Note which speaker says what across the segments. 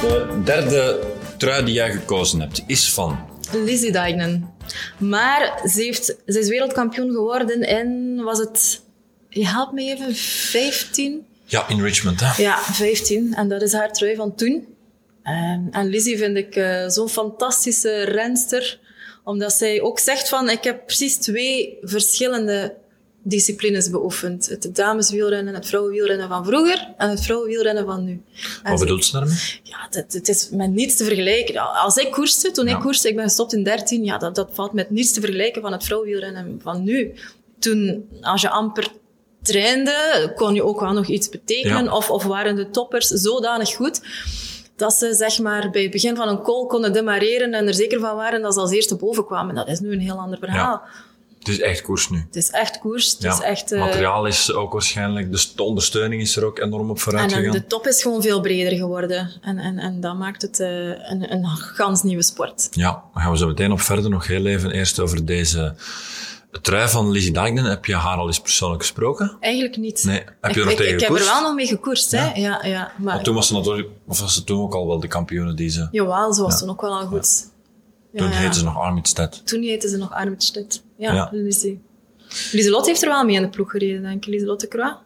Speaker 1: De derde trui die jij gekozen hebt is van.
Speaker 2: Lizzie Dijnen. Maar ze, heeft, ze is wereldkampioen geworden en was het... Je helpt me even, 15?
Speaker 1: Ja, in Richmond, hè?
Speaker 2: Ja, 15. En dat is haar trui van toen. Ehm, en Lizzie vind ik eh, zo'n fantastische renster. Omdat zij ook zegt van, ik heb precies twee verschillende disciplines beoefend. Het dameswielrennen, het vrouwenwielrennen van vroeger en het vrouwenwielrennen van nu. En
Speaker 1: Wat
Speaker 2: ze-
Speaker 1: bedoelt ze daarmee?
Speaker 2: ja, dat, het is met niets te vergelijken. Ja, Als ik koerste, toen
Speaker 1: Ja.
Speaker 2: ik koerste, ik ben gestopt in 13, ja, dat, dat valt met niets te vergelijken van het vrouwenwielrennen van nu. Toen, als je amper trainde, kon je ook wel nog iets betekenen.
Speaker 1: Ja.
Speaker 2: Of, of waren de toppers zodanig goed dat ze zeg maar, bij het begin van een call konden demareren en er zeker van waren dat ze als eerste boven kwamen. Dat is nu een heel ander verhaal.
Speaker 1: Het is echt koers nu.
Speaker 2: Het is echt koers. Het is echt, eh,
Speaker 1: Materiaal is ook waarschijnlijk, dus de ondersteuning is er ook enorm op vooruit
Speaker 2: En, en
Speaker 1: gegaan.
Speaker 2: de top is gewoon veel breder geworden. En, en, en dat maakt het eh, een, een gans nieuwe sport.
Speaker 1: Ja, dan gaan we zo meteen op verder. Nog heel even eerst over deze trui van Lizzie Dijkden. Heb je haar al eens persoonlijk gesproken?
Speaker 2: Eigenlijk niet.
Speaker 1: Nee. Heb je
Speaker 2: ik,
Speaker 1: er nog
Speaker 2: ik,
Speaker 1: tegen
Speaker 2: ik heb er
Speaker 1: gekoerst?
Speaker 2: wel nog mee gekoerst, hè?
Speaker 1: Ja.
Speaker 2: Ja, ja. maar,
Speaker 1: Want toen was ze natuurlijk, of was ze toen ook al wel de kampioene die ze...
Speaker 2: jawel, ze was
Speaker 1: Ja.
Speaker 2: toen ook wel al goed. Ja,
Speaker 1: toen
Speaker 2: ja.
Speaker 1: heette ze nog Armidstedt.
Speaker 2: Toen heette ze nog Armstedt. Ja,
Speaker 1: Ja.
Speaker 2: ja. Lizzie. Lieselot heeft er wel mee in de ploeg gereden, denk ik. Lieselotte Croix.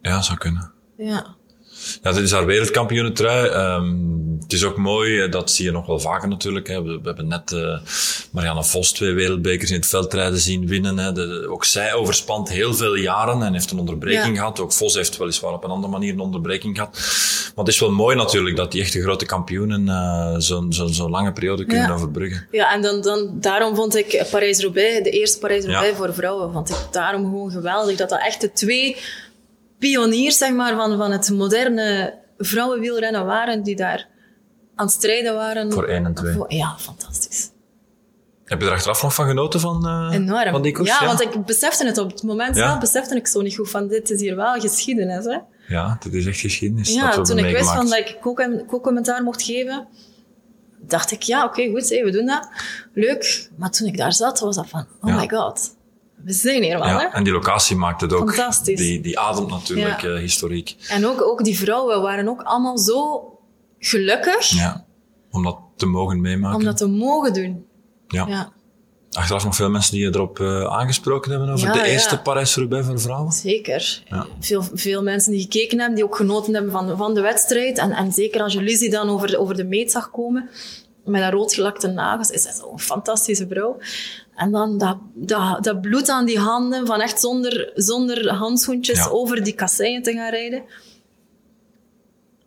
Speaker 1: Ja, zou kunnen.
Speaker 2: Ja.
Speaker 1: Ja, dit is haar wereldkampioenentrui. Ehm het is ook mooi, eh, dat zie je nog wel vaker natuurlijk. Hè. We, we hebben net eh, Marianne Vos twee wereldbekers in het veldrijden zien winnen. Hè. De- de- ook zij overspant heel veel jaren en heeft een onderbreking
Speaker 2: Ja.
Speaker 1: gehad. Ook Vos heeft weliswaar op een andere manier een onderbreking gehad. Maar het is wel mooi natuurlijk dat die echte grote kampioenen eh, zo'n zo'n zo'n lange periode kunnen
Speaker 2: Ja.
Speaker 1: overbruggen.
Speaker 2: Ja, en dan, dan, daarom vond ik Parijs-Roubaix, de eerste Parijs-Roubaix
Speaker 1: Ja.
Speaker 2: voor vrouwen, vond ik daarom gewoon geweldig. Dat dat echt de twee pioniers zeg maar, van, van het moderne vrouwenwielrennen waren, die daar aan het strijden waren.
Speaker 1: Voor één en twee.
Speaker 2: Voor- Ja, fantastisch.
Speaker 1: Heb je er achteraf nog van genoten van, eh,
Speaker 2: Enorm.
Speaker 1: van die koers?
Speaker 2: ja, want ik besefte het op het moment
Speaker 1: Ja.
Speaker 2: zelf, besefte ik zo niet goed van dit is hier wel geschiedenis. Hè?
Speaker 1: Ja, dit is echt geschiedenis. dat we
Speaker 2: Ja,
Speaker 1: hebben
Speaker 2: toen ik wist van
Speaker 1: meegemaakt.
Speaker 2: dat ik co- co-commentaar mocht geven, dacht ik ja, oké, goed, hé, we doen dat. Leuk. Maar toen ik daar zat, was dat van, oh
Speaker 1: Ja.
Speaker 2: my god, we zijn hier wel. hè?
Speaker 1: Ja, en die locatie maakt het ook.
Speaker 2: Fantastisch.
Speaker 1: Die, die ademt natuurlijk
Speaker 2: Ja.
Speaker 1: eh, historiek.
Speaker 2: En ook, ook die vrouwen waren ook allemaal zo gelukkig
Speaker 1: Ja. Om dat te mogen meemaken.
Speaker 2: om dat te mogen doen.
Speaker 1: ja.
Speaker 2: Ja,
Speaker 1: Achteraf nog veel mensen die je erop eh, aangesproken hebben over
Speaker 2: Ja,
Speaker 1: de
Speaker 2: ja.
Speaker 1: eerste Parijs-Roubaix voor vrouwen.
Speaker 2: zeker.
Speaker 1: Ja.
Speaker 2: Veel, veel mensen die gekeken hebben, die ook genoten hebben van, van de wedstrijd. En, en zeker als je Lizzie dan over, over de meet zag komen, met haar roodgelakte nagels, is zij zo'n fantastische vrouw. En dan dat, dat, dat bloed aan die handen, van echt zonder, zonder handschoentjes
Speaker 1: Ja.
Speaker 2: over die kasseien te gaan rijden.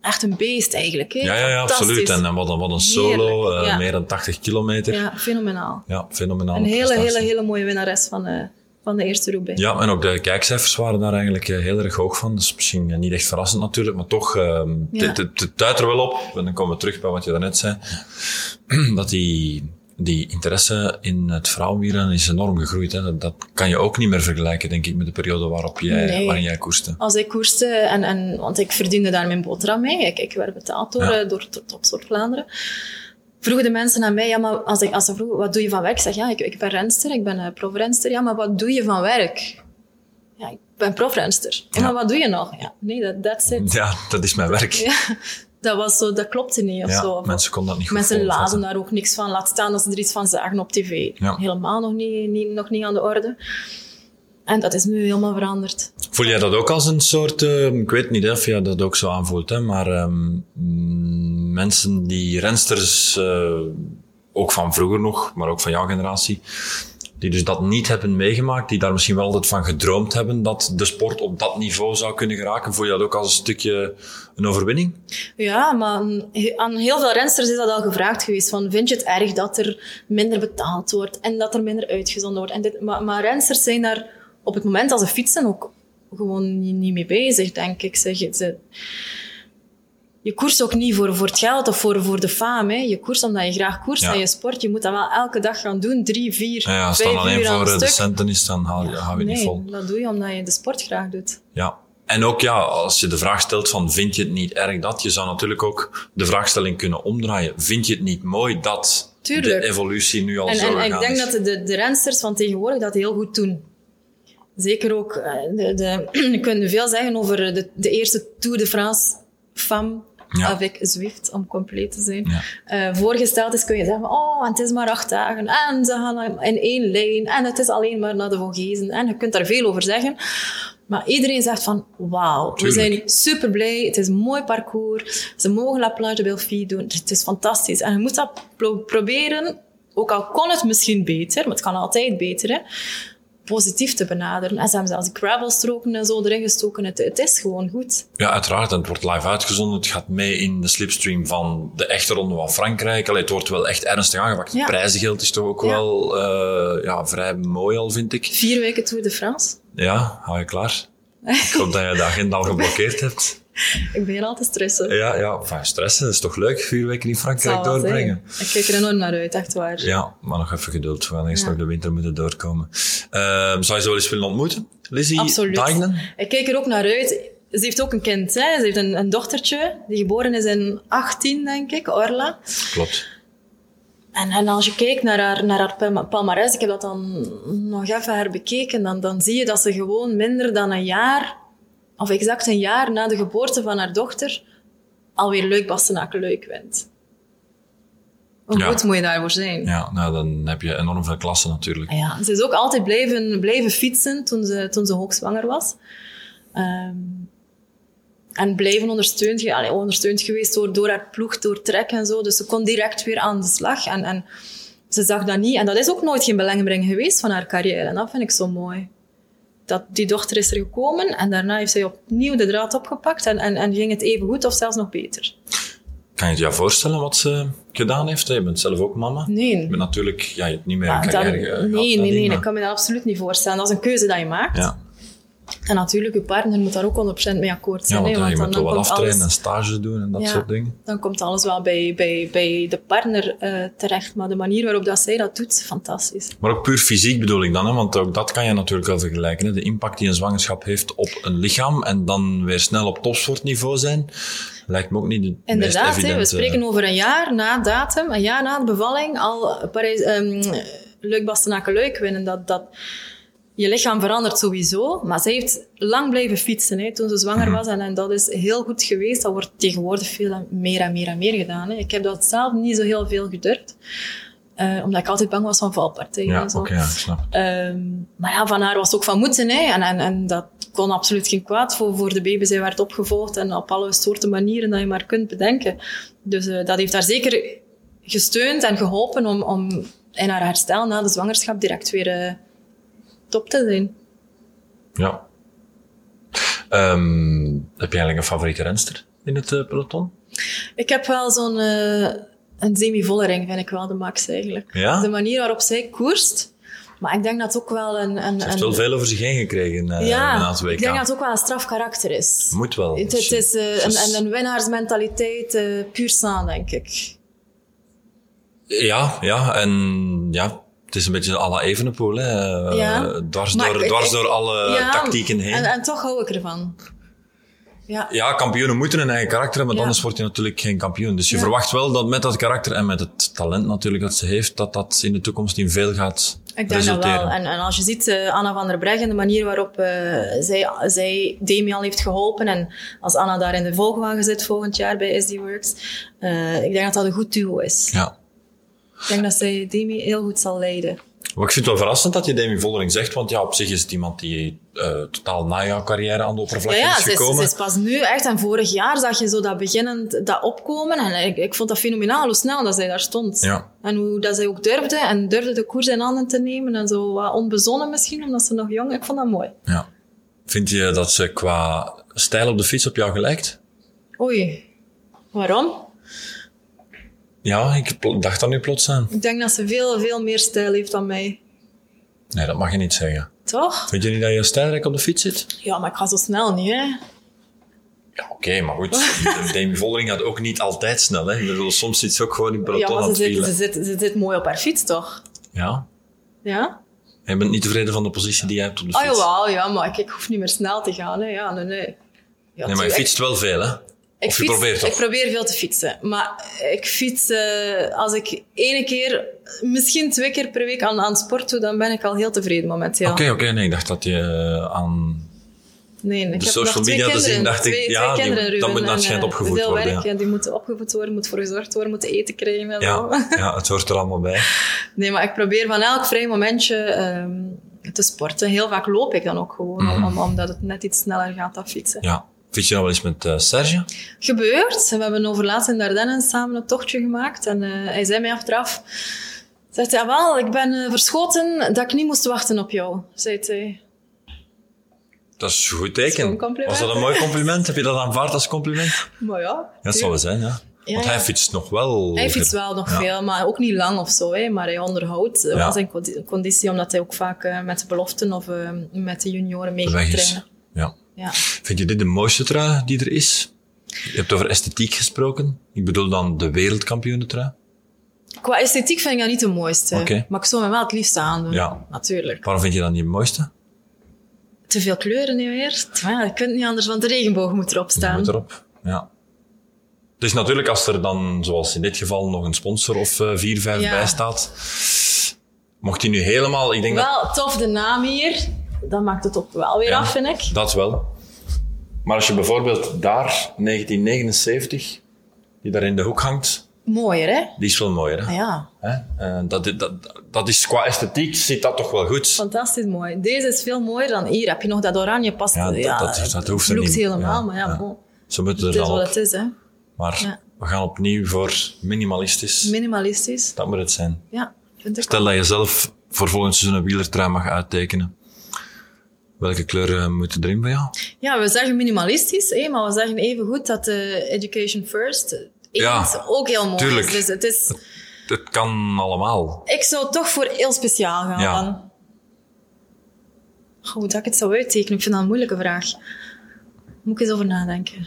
Speaker 2: Echt een beest eigenlijk. Hè?
Speaker 1: Ja, ja, ja absoluut.
Speaker 2: Fantastisch.
Speaker 1: En, en wat, een, wat een solo,
Speaker 2: Heerlijk,
Speaker 1: eh,
Speaker 2: ja.
Speaker 1: meer dan 80 kilometer. Ja,
Speaker 2: ja, fenomenaal.
Speaker 1: fenomenaal.
Speaker 2: Een hele, hele, hele mooie winnares van de, van de eerste Roubaix.
Speaker 1: Ja, en ook de kijkcijfers waren daar eigenlijk eh, heel erg hoog van. Dat is misschien eh, niet echt verrassend natuurlijk, maar toch, ehm
Speaker 2: Ja.
Speaker 1: het, het, het duidt er wel op, en dan komen we terug bij wat je daarnet zei, dat die, die interesse in het vrouwenwielen is enorm gegroeid. Hè. Dat, dat kan je ook niet meer vergelijken, denk ik, met de periode waarop jij,
Speaker 2: Nee.
Speaker 1: waarin jij koerste.
Speaker 2: Als ik koerste, en, en, want ik verdiende daar mijn boterham mee. Ik, ik werd betaald door,
Speaker 1: Ja.
Speaker 2: eh, door T- Topsport Vlaanderen. Vroegen de mensen aan mij, ja, maar als, ik, als ze vroegen, wat doe je van werk? Ik zeg, ja, ik, ik ben renster, ik ben eh, profrenster. Ja, maar wat doe je van werk? Ja, ik ben profrenster. Ja.
Speaker 1: Ja.
Speaker 2: maar wat doe je nog? Ja, nee, dat that's it.
Speaker 1: Ja, dat is mijn werk. Ja,
Speaker 2: Ja, dat, was zo, dat klopte niet of zo. Of-
Speaker 1: mensen konden dat niet goed
Speaker 2: Mensen
Speaker 1: volvatten.
Speaker 2: lazen daar ook niks van. Laat staan dat ze er iets van zagen op tv.
Speaker 1: Ja.
Speaker 2: Helemaal nog niet, niet, nog niet aan de orde. En dat is nu helemaal veranderd.
Speaker 1: Voel jij dat ook als een soort, eh, ik weet niet hè, of jij dat ook zo aanvoelt, hè, maar ehm, mm, mensen die rensters, eh, ook van vroeger nog, maar ook van jouw generatie, die dus dat niet hebben meegemaakt, die daar misschien wel altijd van gedroomd hebben dat de sport op dat niveau zou kunnen geraken, voel je dat ook als een stukje een overwinning?
Speaker 2: Ja, maar aan- aan heel veel rensters is dat al gevraagd geweest. Van, vind je het erg dat er minder betaald wordt en dat er minder uitgezonden wordt? En dit, maar, maar rensters zijn daar op het moment als ze fietsen ook gewoon niet, niet mee bezig, denk ik. Ze, ze, je koerst ook niet voor, voor het geld of voor, voor de faam. Hè. Je koerst omdat je graag koerst
Speaker 1: Ja.
Speaker 2: en je sport. Je moet dat wel elke dag gaan doen. Drie, vier,
Speaker 1: Ja, als het
Speaker 2: vijf
Speaker 1: dan alleen
Speaker 2: uur aan
Speaker 1: voor
Speaker 2: een
Speaker 1: eh, de
Speaker 2: stuk.
Speaker 1: centen is, dan hou je, hou je het
Speaker 2: nee,
Speaker 1: niet vol.
Speaker 2: dat doe je omdat je de sport graag doet.
Speaker 1: Ja. En ook ja, als je de vraag stelt van vind je het niet erg dat, je zou natuurlijk ook de vraagstelling kunnen omdraaien. Vind je het niet mooi dat
Speaker 2: Tuurlijk.
Speaker 1: de evolutie nu al
Speaker 2: En,
Speaker 1: zo
Speaker 2: en, en ik
Speaker 1: gegaan
Speaker 2: denk
Speaker 1: is?
Speaker 2: dat de, de rensters van tegenwoordig dat heel goed doen. Zeker ook, eh, de, de, we kunnen veel zeggen over de, de eerste Tour de France femme
Speaker 1: Ja.
Speaker 2: avec Zwift, om compleet te zijn,
Speaker 1: Ja.
Speaker 2: eh, voorgesteld is, kun je zeggen, oh, en het is maar acht dagen, en ze gaan in één lijn, en het is alleen maar naar de Vogezen, en je kunt daar veel over zeggen. Maar iedereen zegt van, wauw, we
Speaker 1: Tuurlijk.
Speaker 2: zijn super blij, het is een mooi parcours, ze mogen La Plage de Belfi doen, het is fantastisch. En je moet dat pro- proberen, ook al kon het misschien beter, maar het kan altijd beter, hè, positief te benaderen. En ze hebben zelfs gravelstroken en zo erin gestoken, het, het is gewoon goed.
Speaker 1: Ja, uiteraard. En het wordt live uitgezonden. Het gaat mee in de slipstream van de echte ronde van Frankrijk. Allee, het wordt wel echt ernstig aangepakt.
Speaker 2: Ja.
Speaker 1: Het prijzengeld is toch ook
Speaker 2: Ja.
Speaker 1: wel eh, ja, vrij mooi al, vind ik.
Speaker 2: Vier weken Tour de France.
Speaker 1: Ja, hou je klaar? Ik hoop dat je de agenda al geblokkeerd hebt.
Speaker 2: Ik begin al te stressen.
Speaker 1: Ja, ja. Enfin, stressen, dat is toch leuk? Vier weken in
Speaker 2: Het
Speaker 1: Frankrijk
Speaker 2: zal wel
Speaker 1: doorbrengen.
Speaker 2: zijn. Ik kijk er enorm naar uit, echt waar.
Speaker 1: Ja, maar nog even geduld. We gaan eerst
Speaker 2: Ja.
Speaker 1: nog de winter moeten doorkomen. Ehm, zou je ze wel eens willen ontmoeten? Lizzie
Speaker 2: Absoluut.
Speaker 1: Dijnen?
Speaker 2: Ik kijk er ook naar uit. Ze heeft ook een kind, hè. ze heeft een, een dochtertje, die geboren is in 18, denk ik, Orla.
Speaker 1: Klopt.
Speaker 2: En, en als je kijkt naar haar, naar haar palma- palmares, ik heb dat dan nog even herbekeken, dan, dan zie je dat ze gewoon minder dan een jaar, of exact een jaar na de geboorte van haar dochter, alweer Leuk Bastenaken Leuk wint. Hoe
Speaker 1: Ja.
Speaker 2: goed moet je daarvoor zijn?
Speaker 1: Ja, nou, dan heb je enorm veel klassen natuurlijk.
Speaker 2: Ja, ze is ook altijd blijven, blijven fietsen toen ze, toen ze hoogzwanger was. Ehm, en blijven ondersteund, ge- allee, ondersteund geweest door, door haar ploeg, door Trek en zo. Dus ze kon direct weer aan de slag. En, en ze zag dat niet. En dat is ook nooit geen belangrijk geweest van haar carrière. En dat vind ik zo mooi. Dat die dochter is er gekomen en daarna heeft zij opnieuw de draad opgepakt. En, en, en ging het even goed of zelfs nog beter.
Speaker 1: Kan je het jou voorstellen wat ze gedaan heeft? Je bent zelf ook mama.
Speaker 2: Nee.
Speaker 1: Je bent natuurlijk ja, je hebt niet meer
Speaker 2: Ja,
Speaker 1: een
Speaker 2: dat-
Speaker 1: carrière gehad
Speaker 2: nee, nee,
Speaker 1: nadien,
Speaker 2: nee,
Speaker 1: maar-
Speaker 2: ik kan me dat absoluut niet voorstellen. Dat is een keuze dat je maakt.
Speaker 1: Ja,
Speaker 2: En natuurlijk, je partner moet daar ook 100% mee akkoord
Speaker 1: ja
Speaker 2: zijn.
Speaker 1: want
Speaker 2: hè,
Speaker 1: ja, je
Speaker 2: dan-
Speaker 1: moet wel wat
Speaker 2: dan komt
Speaker 1: aftrainen en
Speaker 2: alles-
Speaker 1: stage doen en dat
Speaker 2: Ja.
Speaker 1: soort dingen.
Speaker 2: Dan komt alles wel bij, bij, bij de partner eh, terecht. Maar de manier waarop dat zij dat doet, fantastisch.
Speaker 1: Maar ook puur fysiek bedoel ik dan, hè? want ook dat kan je natuurlijk wel vergelijken. Hè? De impact die een zwangerschap heeft op een lichaam en dan weer snel op topsportniveau zijn, lijkt me ook niet de meest eh,
Speaker 2: Inderdaad,
Speaker 1: evidente...
Speaker 2: hè, we spreken over een jaar na datum, een jaar na de bevalling, al Parijs, ehm Leuk Bastenaken Leuk winnen. Dat, dat, je lichaam verandert sowieso, maar ze heeft lang blijven fietsen hè, toen ze zwanger
Speaker 1: Mhm.
Speaker 2: was. En, en dat is heel goed geweest. Dat wordt tegenwoordig veel en meer en meer en meer gedaan. Hè. Ik heb dat zelf niet zo heel veel gedurfd, eh, omdat ik altijd bang was van valpartijen
Speaker 1: Ja,
Speaker 2: en
Speaker 1: oké,
Speaker 2: zo.
Speaker 1: ja, ik snap het.
Speaker 2: Ehm, maar ja, van haar was ook van moeten. Hè. En, en, en dat kon absoluut geen kwaad voor, voor de baby. Zij werd opgevolgd en op alle soorten manieren dat je maar kunt bedenken. Dus eh, dat heeft haar zeker gesteund en geholpen om, om in haar herstel na de zwangerschap direct weer eh, top te zijn.
Speaker 1: Ja. Ehm, heb je eigenlijk een favoriete renster in het eh, peloton?
Speaker 2: Ik heb wel zo'n eh, een semi-volle ring, vind ik wel de max eigenlijk.
Speaker 1: Ja?
Speaker 2: De manier waarop zij koerst. Maar ik denk dat het ook wel een... een,
Speaker 1: Ze heeft
Speaker 2: een-
Speaker 1: wel veel over zich heen gekregen eh na
Speaker 2: ja,
Speaker 1: het WK.
Speaker 2: ik denk dat het ook wel een straf karakter is.
Speaker 1: Moet wel.
Speaker 2: Het, het is eh, een, een, een winnaarsmentaliteit, eh, puur staan, denk ik.
Speaker 1: Ja, ja, en ja, het is een beetje à la Evenepoel, hè. Eh,
Speaker 2: Ja.
Speaker 1: Dwars,
Speaker 2: Maar
Speaker 1: door,
Speaker 2: ik-
Speaker 1: dwars
Speaker 2: ik-
Speaker 1: door alle Eh, tactieken heen.
Speaker 2: En, en toch hou ik ervan. Ja,
Speaker 1: ja, kampioenen moeten een eigen karakter hebben, want
Speaker 2: Ja.
Speaker 1: anders word je natuurlijk geen kampioen. Dus je
Speaker 2: Ja.
Speaker 1: verwacht wel dat met dat karakter en met het talent natuurlijk dat ze heeft, dat dat in de toekomst in veel gaat
Speaker 2: ik denk dat
Speaker 1: resulteren.
Speaker 2: wel. En, en als je ziet, eh, Anna van der Breggen, de manier waarop eh, zij, zij Damian heeft geholpen. En als Anna daar in de volgwagen zit volgend jaar bij SD Works. eh, ik denk dat dat een goed duo is.
Speaker 1: Ja.
Speaker 2: Ik denk dat zij Demi heel goed zal leiden.
Speaker 1: Maar ik vind het wel verrassend dat je Demi Vollering zegt, want ja, op zich is het iemand die eh, totaal na jouw carrière aan de oppervlakte
Speaker 2: ja,
Speaker 1: is
Speaker 2: ze is,
Speaker 1: gekomen.
Speaker 2: ze is pas nu echt. En vorig jaar zag je zo dat beginnend, dat opkomen. En ik, ik vond dat fenomenaal hoe snel dat zij daar stond.
Speaker 1: Ja.
Speaker 2: En hoe dat zij ook durfde. En durfde de koers in handen te nemen. En zo wat onbezonnen misschien, omdat ze nog jong Ik vond dat mooi.
Speaker 1: ja. Vind je dat ze qua stijl op de fiets op jou gelijkt?
Speaker 2: Oei. Waarom?
Speaker 1: Ja, ik pl- dacht dat nu plots aan.
Speaker 2: Ik denk dat ze veel, veel meer stijl heeft dan mij.
Speaker 1: Nee, dat mag je niet zeggen.
Speaker 2: Toch?
Speaker 1: Vind je niet dat je stijlrijk op de fiets zit?
Speaker 2: Ja, maar ik ga zo snel niet, hè.
Speaker 1: Ja, oké, maar goed. Demi Vollering gaat ook niet altijd snel. Hè. Ik bedoel, soms zit ze ook gewoon in
Speaker 2: Ja,
Speaker 1: peloton aan
Speaker 2: maar ze
Speaker 1: het
Speaker 2: zit,
Speaker 1: wielen.
Speaker 2: ze, zit, ze zit mooi op haar fiets, toch?
Speaker 1: Ja?
Speaker 2: Ja?
Speaker 1: Je bent niet tevreden van de positie die je hebt op de
Speaker 2: Oh,
Speaker 1: fiets?
Speaker 2: jawel, ja, maar ik, ik hoef niet meer snel te gaan, hè. Ja, nee, nee. Ja,
Speaker 1: Nee, maar je
Speaker 2: tuurlijk.
Speaker 1: fietst wel veel, hè?
Speaker 2: Ik,
Speaker 1: of je
Speaker 2: fiets-
Speaker 1: probeert
Speaker 2: ik
Speaker 1: toch?
Speaker 2: probeer veel te fietsen. Maar ik fiets, eh, als ik ene keer, misschien twee keer per week aan, aan sport doe, dan ben ik al heel tevreden momenteel.
Speaker 1: Oké, oké. nee, ik dacht dat je eh, aan
Speaker 2: Nee, ik
Speaker 1: de
Speaker 2: heb
Speaker 1: social
Speaker 2: nog twee
Speaker 1: media te
Speaker 2: kinderen,
Speaker 1: zien, dacht ik,
Speaker 2: twee,
Speaker 1: ja,
Speaker 2: twee
Speaker 1: die- dat
Speaker 2: kinderen,
Speaker 1: moet-
Speaker 2: Ruben,
Speaker 1: dat
Speaker 2: en,
Speaker 1: schijnt
Speaker 2: eh,
Speaker 1: opgevoed
Speaker 2: veel
Speaker 1: worden,
Speaker 2: Werk,
Speaker 1: ja.
Speaker 2: ja. Die moeten opgevoed worden, moeten voor gezorgd worden, moeten eten krijgen en zo.
Speaker 1: Ja, ja, het hoort er allemaal bij.
Speaker 2: Nee, maar ik probeer van elk vrij momentje ehm, te sporten. Heel vaak loop ik dan ook gewoon,
Speaker 1: Mhm.
Speaker 2: om- omdat het net iets sneller gaat dan fietsen.
Speaker 1: Ja. Fiets je nou wel eens met eh, Serge?
Speaker 2: Gebeurt. We hebben over laatst in Ardennen samen een tochtje gemaakt. En eh, hij zei mij achteraf... Zegt hij, wel, ik ben eh, verschoten dat ik niet moest wachten op jou, zei hij.
Speaker 1: Dat is een goed
Speaker 2: is gewoon
Speaker 1: teken.
Speaker 2: een compliment.
Speaker 1: Was dat een mooi compliment? Heb je dat aanvaard als compliment?
Speaker 2: Maar ja...
Speaker 1: Ja, dat zal wel zijn, ja.
Speaker 2: Ja,
Speaker 1: Want
Speaker 2: ja.
Speaker 1: hij fietst nog wel.
Speaker 2: Hij fietst wel nog
Speaker 1: Ja.
Speaker 2: veel, maar ook niet lang of zo. Hè. Maar hij onderhoudt eh,
Speaker 1: Ja.
Speaker 2: wel zijn condi- conditie, omdat hij ook vaak eh, met de beloften of eh, met de junioren mee gaat
Speaker 1: Weg is.
Speaker 2: trainen.
Speaker 1: Ja.
Speaker 2: Ja.
Speaker 1: Vind je dit de mooiste trui die er is? Je hebt over esthetiek gesproken. Ik bedoel dan de wereldkampioenentrui.
Speaker 2: Qua esthetiek vind ik dat niet de mooiste.
Speaker 1: Oké.
Speaker 2: Maar ik zou hem wel het liefst aandoen.
Speaker 1: Ja.
Speaker 2: Natuurlijk.
Speaker 1: Waarom vind je dat niet het mooiste?
Speaker 2: Te veel kleuren nu weer. Ja, je kunt niet anders, want de regenboog moet erop
Speaker 1: Je
Speaker 2: staan.
Speaker 1: moet erop. Ja. Dus natuurlijk, als er dan, zoals in dit geval, nog een sponsor of eh, vier, vijf
Speaker 2: Ja.
Speaker 1: bij staat. Mocht hij nu helemaal, ik denk dat
Speaker 2: Wel, tof de naam hier. Dat maakt het ook wel weer
Speaker 1: Ja.
Speaker 2: af, vind ik.
Speaker 1: Dat wel. Maar als je bijvoorbeeld daar 1979, die daar in de hoek hangt,
Speaker 2: Mooier, hè?
Speaker 1: die is wel mooier. Hè?
Speaker 2: Ah, Ja,
Speaker 1: Hè? Eh, dat, dat, dat is qua esthetiek, ziet dat toch wel goed.
Speaker 2: fantastisch mooi. Deze is veel mooier dan hier. Heb je nog dat oranje past?
Speaker 1: Ja, dat- dat- dat hoeft er
Speaker 2: vloekt
Speaker 1: niet.
Speaker 2: helemaal,
Speaker 1: Ja,
Speaker 2: maar ja,
Speaker 1: ja.
Speaker 2: bon.
Speaker 1: Ze moeten
Speaker 2: Het
Speaker 1: er
Speaker 2: is
Speaker 1: al
Speaker 2: wat
Speaker 1: op.
Speaker 2: het is, hè.
Speaker 1: Maar
Speaker 2: Ja.
Speaker 1: we gaan opnieuw voor minimalistisch.
Speaker 2: Minimalistisch.
Speaker 1: dat moet het zijn.
Speaker 2: Ja, vind ik.
Speaker 1: Stel dat je zelf voor volgend seizoen een wielertrui mag uittekenen. Welke eh, kleuren moeten erin bij jou?
Speaker 2: Ja, we zeggen minimalistisch, hè, maar we zeggen even goed dat eh, education first eh,
Speaker 1: Ja,
Speaker 2: eens ook heel mooi
Speaker 1: tuurlijk.
Speaker 2: is. Dus het is...
Speaker 1: Het kan allemaal.
Speaker 2: Ik zou toch voor heel speciaal gaan.
Speaker 1: Ja.
Speaker 2: dan. Goh, hoe dat ik het zou uittekenen, ik vind dat een moeilijke vraag. Moet ik eens over nadenken.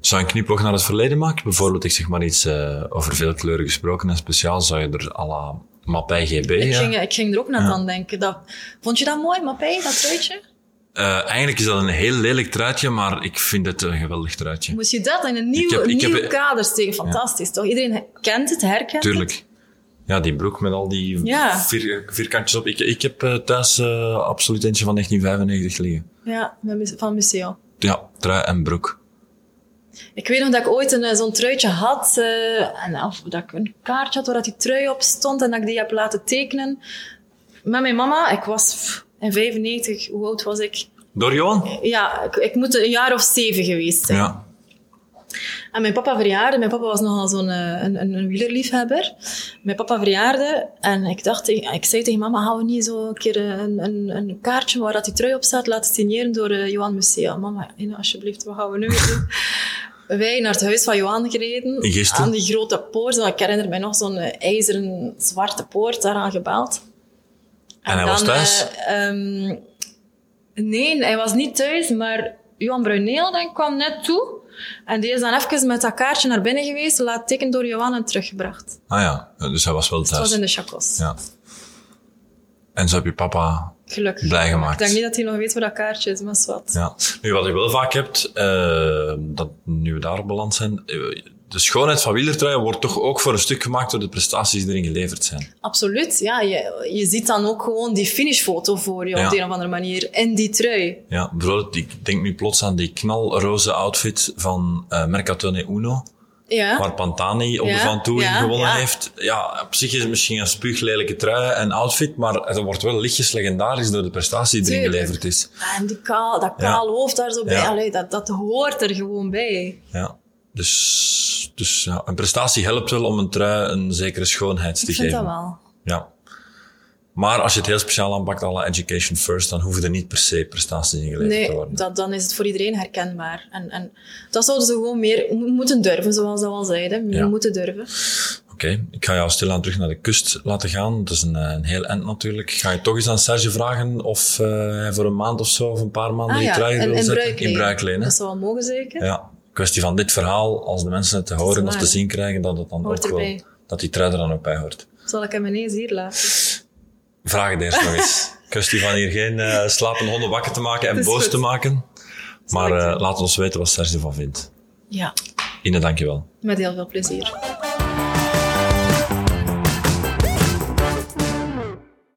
Speaker 1: Zou je een knipoog naar het verleden maken? Bijvoorbeeld, ik zeg maar iets eh, over veel kleuren gesproken en speciaal zou je er à la Mappij GB.
Speaker 2: Ik,
Speaker 1: ja?
Speaker 2: ging, ik ging er ook net aan denken. Dat, vond je dat mooi, Mappé, dat truitje?
Speaker 1: Eh, eigenlijk is dat een heel lelijk truitje, maar ik vind het een geweldig truitje.
Speaker 2: Moest je dat in een nieuw,
Speaker 1: heb- ik heb-
Speaker 2: nieuw kader steken? Fantastisch, toch? Iedereen kent het, herkent het.
Speaker 1: Tuurlijk. Ja, die broek met al die
Speaker 2: Ja.
Speaker 1: vier, vierkantjes op. Ik, ik heb eh, thuis eh, absoluut eentje van 1995 liggen.
Speaker 2: Ja, met muse- van museum.
Speaker 1: Ja, trui en broek.
Speaker 2: Ik weet nog dat ik ooit een, eh, zo'n truitje had. eh, en of dat ik een kaartje had waar dat die trui op stond. En dat ik die heb laten tekenen. Met mijn mama. Ik was pff, in 95. Hoe oud was ik?
Speaker 1: Door Johan?
Speaker 2: Ja, ik, ik moet een jaar of zeven geweest zijn.
Speaker 1: Ja.
Speaker 2: En mijn papa verjaarde. Mijn papa was nogal zo'n eh, een, een, een wielerliefhebber. Mijn papa verjaarde. En ik dacht, tegen- ik zei tegen mama, gaan we niet zo een keer eh, een, een, een kaartje waar dat die trui op staat laten signeren door eh, Johan Musea. Mama, Ina, alsjeblieft, wat gaan we nu weer doen? Wij naar het huis van Johan gereden.
Speaker 1: In Gistel?
Speaker 2: Aan die grote poort. Ik herinner mij nog zo'n eh, ijzeren zwarte poort, daaraan gebeld.
Speaker 1: En hij was thuis?
Speaker 2: eh, ehm, nee, hij was niet thuis, maar Johan Bruineel denk, ik, kwam net toe. En die is dan even met dat kaartje naar binnen geweest, laat teken door Johan en teruggebracht. Dus
Speaker 1: Ah ja, dus hij was wel
Speaker 2: Het was
Speaker 1: thuis.
Speaker 2: in de chacos.
Speaker 1: Ja. En zo heb je papa
Speaker 2: Gelukkig.
Speaker 1: blij gemaakt.
Speaker 2: Ik denk niet dat hij nog weet waar dat kaartje is, maar zwart.
Speaker 1: Ja. Nu, wat je wel vaak hebt, eh, dat, nu we daar beland zijn, eh, de schoonheid van wielertruien wordt toch ook voor een stuk gemaakt door de prestaties die erin geleverd zijn.
Speaker 2: Absoluut, ja. Je, je ziet dan ook gewoon die finishfoto voor je
Speaker 1: Ja.
Speaker 2: op de een of andere manier. In die trui.
Speaker 1: Ja, bijvoorbeeld, ik denk nu plots aan die knalroze outfit van eh, Mercatone Uno,
Speaker 2: Ja.
Speaker 1: waar Pantani op de
Speaker 2: Ah. Ja,
Speaker 1: Van Tour
Speaker 2: ja,
Speaker 1: gewonnen
Speaker 2: ja.
Speaker 1: heeft. Ja, op zich is het misschien een spuuglelijke trui en outfit, maar het wordt wel lichtjes legendarisch door de prestatie die erin
Speaker 2: Tuurlijk.
Speaker 1: geleverd is.
Speaker 2: En die kaal, dat
Speaker 1: Ja.
Speaker 2: kaal hoofd daar zo bij.
Speaker 1: Ja.
Speaker 2: Allee, dat, dat hoort er gewoon bij.
Speaker 1: Ja. Dus, dus ja, een prestatie helpt wel om een trui een zekere schoonheid te
Speaker 2: Ik
Speaker 1: geven.
Speaker 2: vind dat wel.
Speaker 1: Ja. Maar als je het heel speciaal aanpakt, alle education first, dan hoeven er niet per se prestaties in geleverd te
Speaker 2: Nee,
Speaker 1: worden.
Speaker 2: dat, dan is het voor iedereen herkenbaar. En, en dat zouden ze gewoon meer mo- moeten durven, zoals dat al zeiden. We
Speaker 1: Ja.
Speaker 2: moeten durven.
Speaker 1: Oké, ik ga jou stilaan terug naar de kust laten gaan. Dat is een, eh, een heel eind natuurlijk. Ga je toch eens aan Serge vragen of eh, hij voor een maand of zo, of een paar maanden, die trui
Speaker 2: en-
Speaker 1: wil
Speaker 2: en
Speaker 1: zetten?
Speaker 2: bruikleen.
Speaker 1: In bruikleen, hè?
Speaker 2: Dat zou wel mogen zeker.
Speaker 1: Ja, kwestie van dit verhaal, als de mensen het te horen of
Speaker 2: waar,
Speaker 1: te
Speaker 2: hè?
Speaker 1: zien krijgen, dat, het dan
Speaker 2: Hoort
Speaker 1: ook wel,
Speaker 2: erbij.
Speaker 1: dat die trui er dan ook bij hoort.
Speaker 2: Zal ik hem ineens hier laten?
Speaker 1: Vraag het eerst nog eens. Kwestie van hier geen eh slapende honden wakker te maken en
Speaker 2: is
Speaker 1: boos
Speaker 2: goed.
Speaker 1: te maken. Maar
Speaker 2: ik
Speaker 1: eh,
Speaker 2: doen.
Speaker 1: laat ons weten wat Serge ervan vindt.
Speaker 2: Ja,
Speaker 1: Ine, dankjewel.
Speaker 2: met heel veel plezier.